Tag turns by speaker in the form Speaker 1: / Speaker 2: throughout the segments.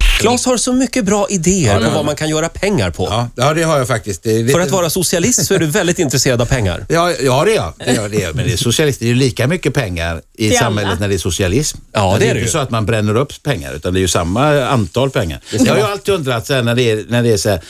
Speaker 1: Claes har så mycket bra idéer på vad man kan göra pengar på.
Speaker 2: Ja, ja, det har jag faktiskt. Det är lite-
Speaker 1: För att vara socialist så är du väldigt intresserad av pengar.
Speaker 2: Ja, ja, det är jag. Det är jag, det är jag. Men det är socialist. Det är ju lika mycket pengar i
Speaker 3: Till alla.
Speaker 2: samhället när det är socialism. Alltså,
Speaker 1: Ja, det
Speaker 2: det
Speaker 1: är
Speaker 2: är
Speaker 1: det
Speaker 2: inte
Speaker 1: ju.
Speaker 2: så att man bränner upp pengar, utan det är ju samma antal pengar. Jag har ju alltid undrat så här, när, det är, när det är så här,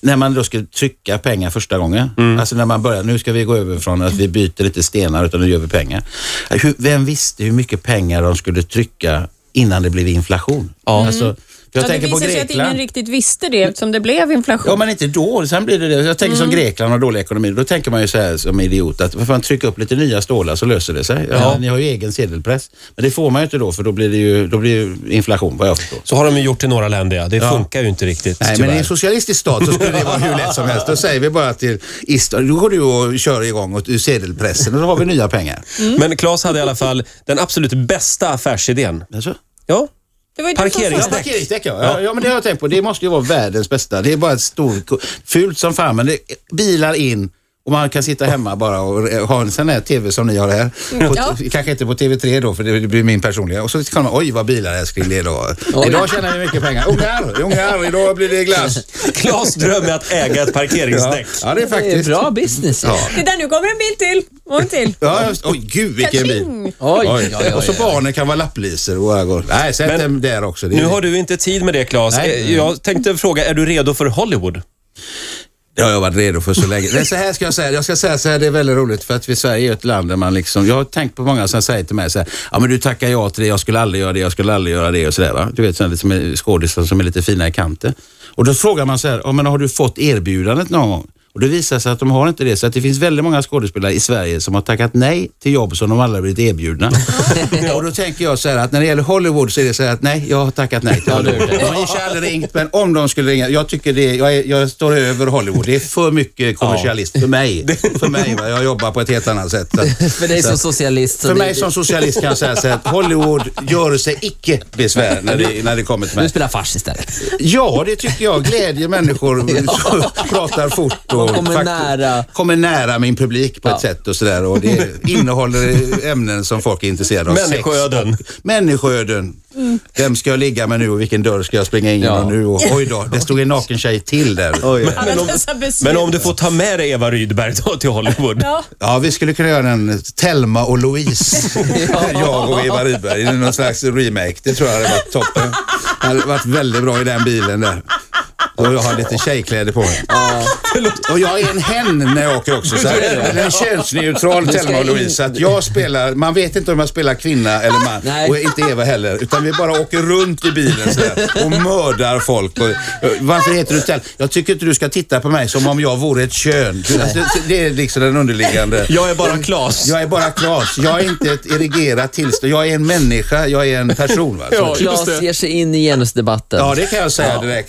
Speaker 2: när man då ska trycka pengar första gången.
Speaker 1: Mm.
Speaker 2: Alltså när man börjar, nu ska vi gå över från att vi byter inte stenar, utan nu gör vi pengar. Hur, vem visste hur mycket pengar de skulle trycka innan det blev inflation? Ja. Alltså, jag
Speaker 3: Ja, det
Speaker 2: tänker på
Speaker 3: visar sig
Speaker 2: Grekland.
Speaker 3: att ingen riktigt visste det eftersom det blev inflation.
Speaker 2: Ja, men inte då. Sen blir det det. Jag tänker som Grekland har dålig ekonomi. Då tänker man ju så här som idiot att varför man trycker upp lite nya stålar så löser det sig. Ja, Ni har ju egen sedelpress. Men det får man ju inte då för då blir det ju, då blir det ju inflation vad jag förstår.
Speaker 1: Så har de ju gjort i några länder, ja. Det funkar ju inte riktigt,
Speaker 2: Nej,
Speaker 1: tyvärr.
Speaker 2: men i en socialistisk stat så skulle det vara hur lätt som helst. Då säger vi bara till Istan, då går du och kör igång och- ur sedelpressen och då har vi nya pengar.
Speaker 1: Men Claes hade i alla fall den absolut bästa affärsidén.
Speaker 2: Alltså.
Speaker 1: Ja,
Speaker 3: Det var ju du som sa det.
Speaker 2: Ja,
Speaker 1: Parkeringsdäck.
Speaker 2: parkeringsdäck ja. ja. Ja, men det har jag tänkt på. Det måste ju vara världens bästa. Det är bara ett stort, fult som fan, men det, bilar in och man kan sitta hemma bara och eh, ha en sån här TV som ni har här. På,
Speaker 3: Ja.
Speaker 2: Kanske inte på TV3 då, för det det blir min personliga. Och så kollar man, oj vad bilar älskling det är då. Idag tjänar vi mycket pengar. Ungar, ungar, idag blir det glass.
Speaker 1: Claes dröm är att äga ett
Speaker 2: Ja,
Speaker 1: parkeringsdäck.
Speaker 2: ja det är
Speaker 4: Det är
Speaker 2: faktiskt.
Speaker 4: bra business.
Speaker 2: Ja.
Speaker 3: Titta, nu kommer en bil till. Och en till.
Speaker 2: Ja, just, oj gud vilken bil.
Speaker 3: Kaching!
Speaker 4: Oj,
Speaker 2: Oj.
Speaker 4: oj, oj,
Speaker 2: Och så
Speaker 4: oj.
Speaker 2: barnen kan vara lappliser och alla går. Nej, sätt
Speaker 1: Men
Speaker 2: dem där också. Det är-
Speaker 1: Nu har du inte tid med det, Claes.
Speaker 2: Nej.
Speaker 1: Eh, Jag tänkte fråga, är du redo för Hollywood?
Speaker 2: Det har jag varit redo för så länge. Men så här ska jag säga, jag ska säga så här, det är väldigt roligt för att vi i Sverige är ett land där man liksom, jag har tänkt på många som säger till mig så här, ja men du tackar ja till det, jag skulle aldrig göra det, jag skulle aldrig göra det och sådär va. Du vet sådana som är eh, skådisar som är lite fina i kanten. Och då frågar man så här, ja men har du fått erbjudandet någon gång? Och det visar sig att de har inte det, så att det finns väldigt många skådespelare i Sverige som har tackat nej till jobb som de aldrig blivit erbjudna. och då tänker jag så här att när det gäller Hollywood så är det så här att nej, jag har tackat nej till Hollywood. De har inte aldrig ringt, men om de skulle ringa, jag tycker det, jag, är, jag står över Hollywood. Det är för mycket kommersialism för mig. För mig, va? jag jobbar på ett helt annat sätt. Så att-
Speaker 4: För
Speaker 2: så
Speaker 4: dig som
Speaker 2: att-
Speaker 4: socialist. så
Speaker 2: för
Speaker 4: det-
Speaker 2: mig som socialist kan jag säga så här att Hollywood gör sig icke besvär när det, när det kommer till mig.
Speaker 4: Du spelar fars istället.
Speaker 2: Ja, det tycker jag. Glädjer människor som pratar fort och
Speaker 4: Man kommer
Speaker 2: fakt-
Speaker 4: nära.
Speaker 2: kommer nära min publik på ett sätt och sådär. Och det innehåller ämnen som folk är intresserade av. Sex
Speaker 1: Människoöden.
Speaker 2: och- Människoöden. Vem ska jag ligga med nu och vilken dörr ska jag springa in
Speaker 4: Mm. Ja.
Speaker 2: genom nu? Och, oj då, det stod en naken tjej till där.
Speaker 3: Alla dessa beslut.
Speaker 1: Men om du får ta med dig Eva Rydberg då till Hollywood.
Speaker 3: Ja.
Speaker 2: Ja, vi skulle kunna göra en Telma och Louise. jag och Eva Rydberg. Det är någon slags remake. Det tror jag hade varit toppen. Det hade varit väldigt bra i den bilen där. Och jag har lite tjejkläder på mig. Och jag är en hen när jag åker också. Så här. Eller en könsneutral
Speaker 4: Du ska
Speaker 2: Telma och
Speaker 4: in-
Speaker 2: Louise. Så att jag spelar, man vet inte om jag spelar kvinna eller man.
Speaker 4: Nej.
Speaker 2: Och inte Eva heller. Utan vi bara åker runt i bilen så här, och mördar folk. Och, eh, varför heter du Telma? Jag tycker inte du ska titta på mig som om jag vore ett kön. Alltså, det är liksom den underliggande.
Speaker 1: Jag är bara Claes.
Speaker 2: Jag är bara Claes. Jag är inte ett erigerat tillstånd. Jag är en människa. Jag är en person. Va? Så-
Speaker 1: Ja, just
Speaker 4: Claes
Speaker 1: det.
Speaker 4: ger sig in i genusdebatten.
Speaker 2: ja, det kan jag säga direkt.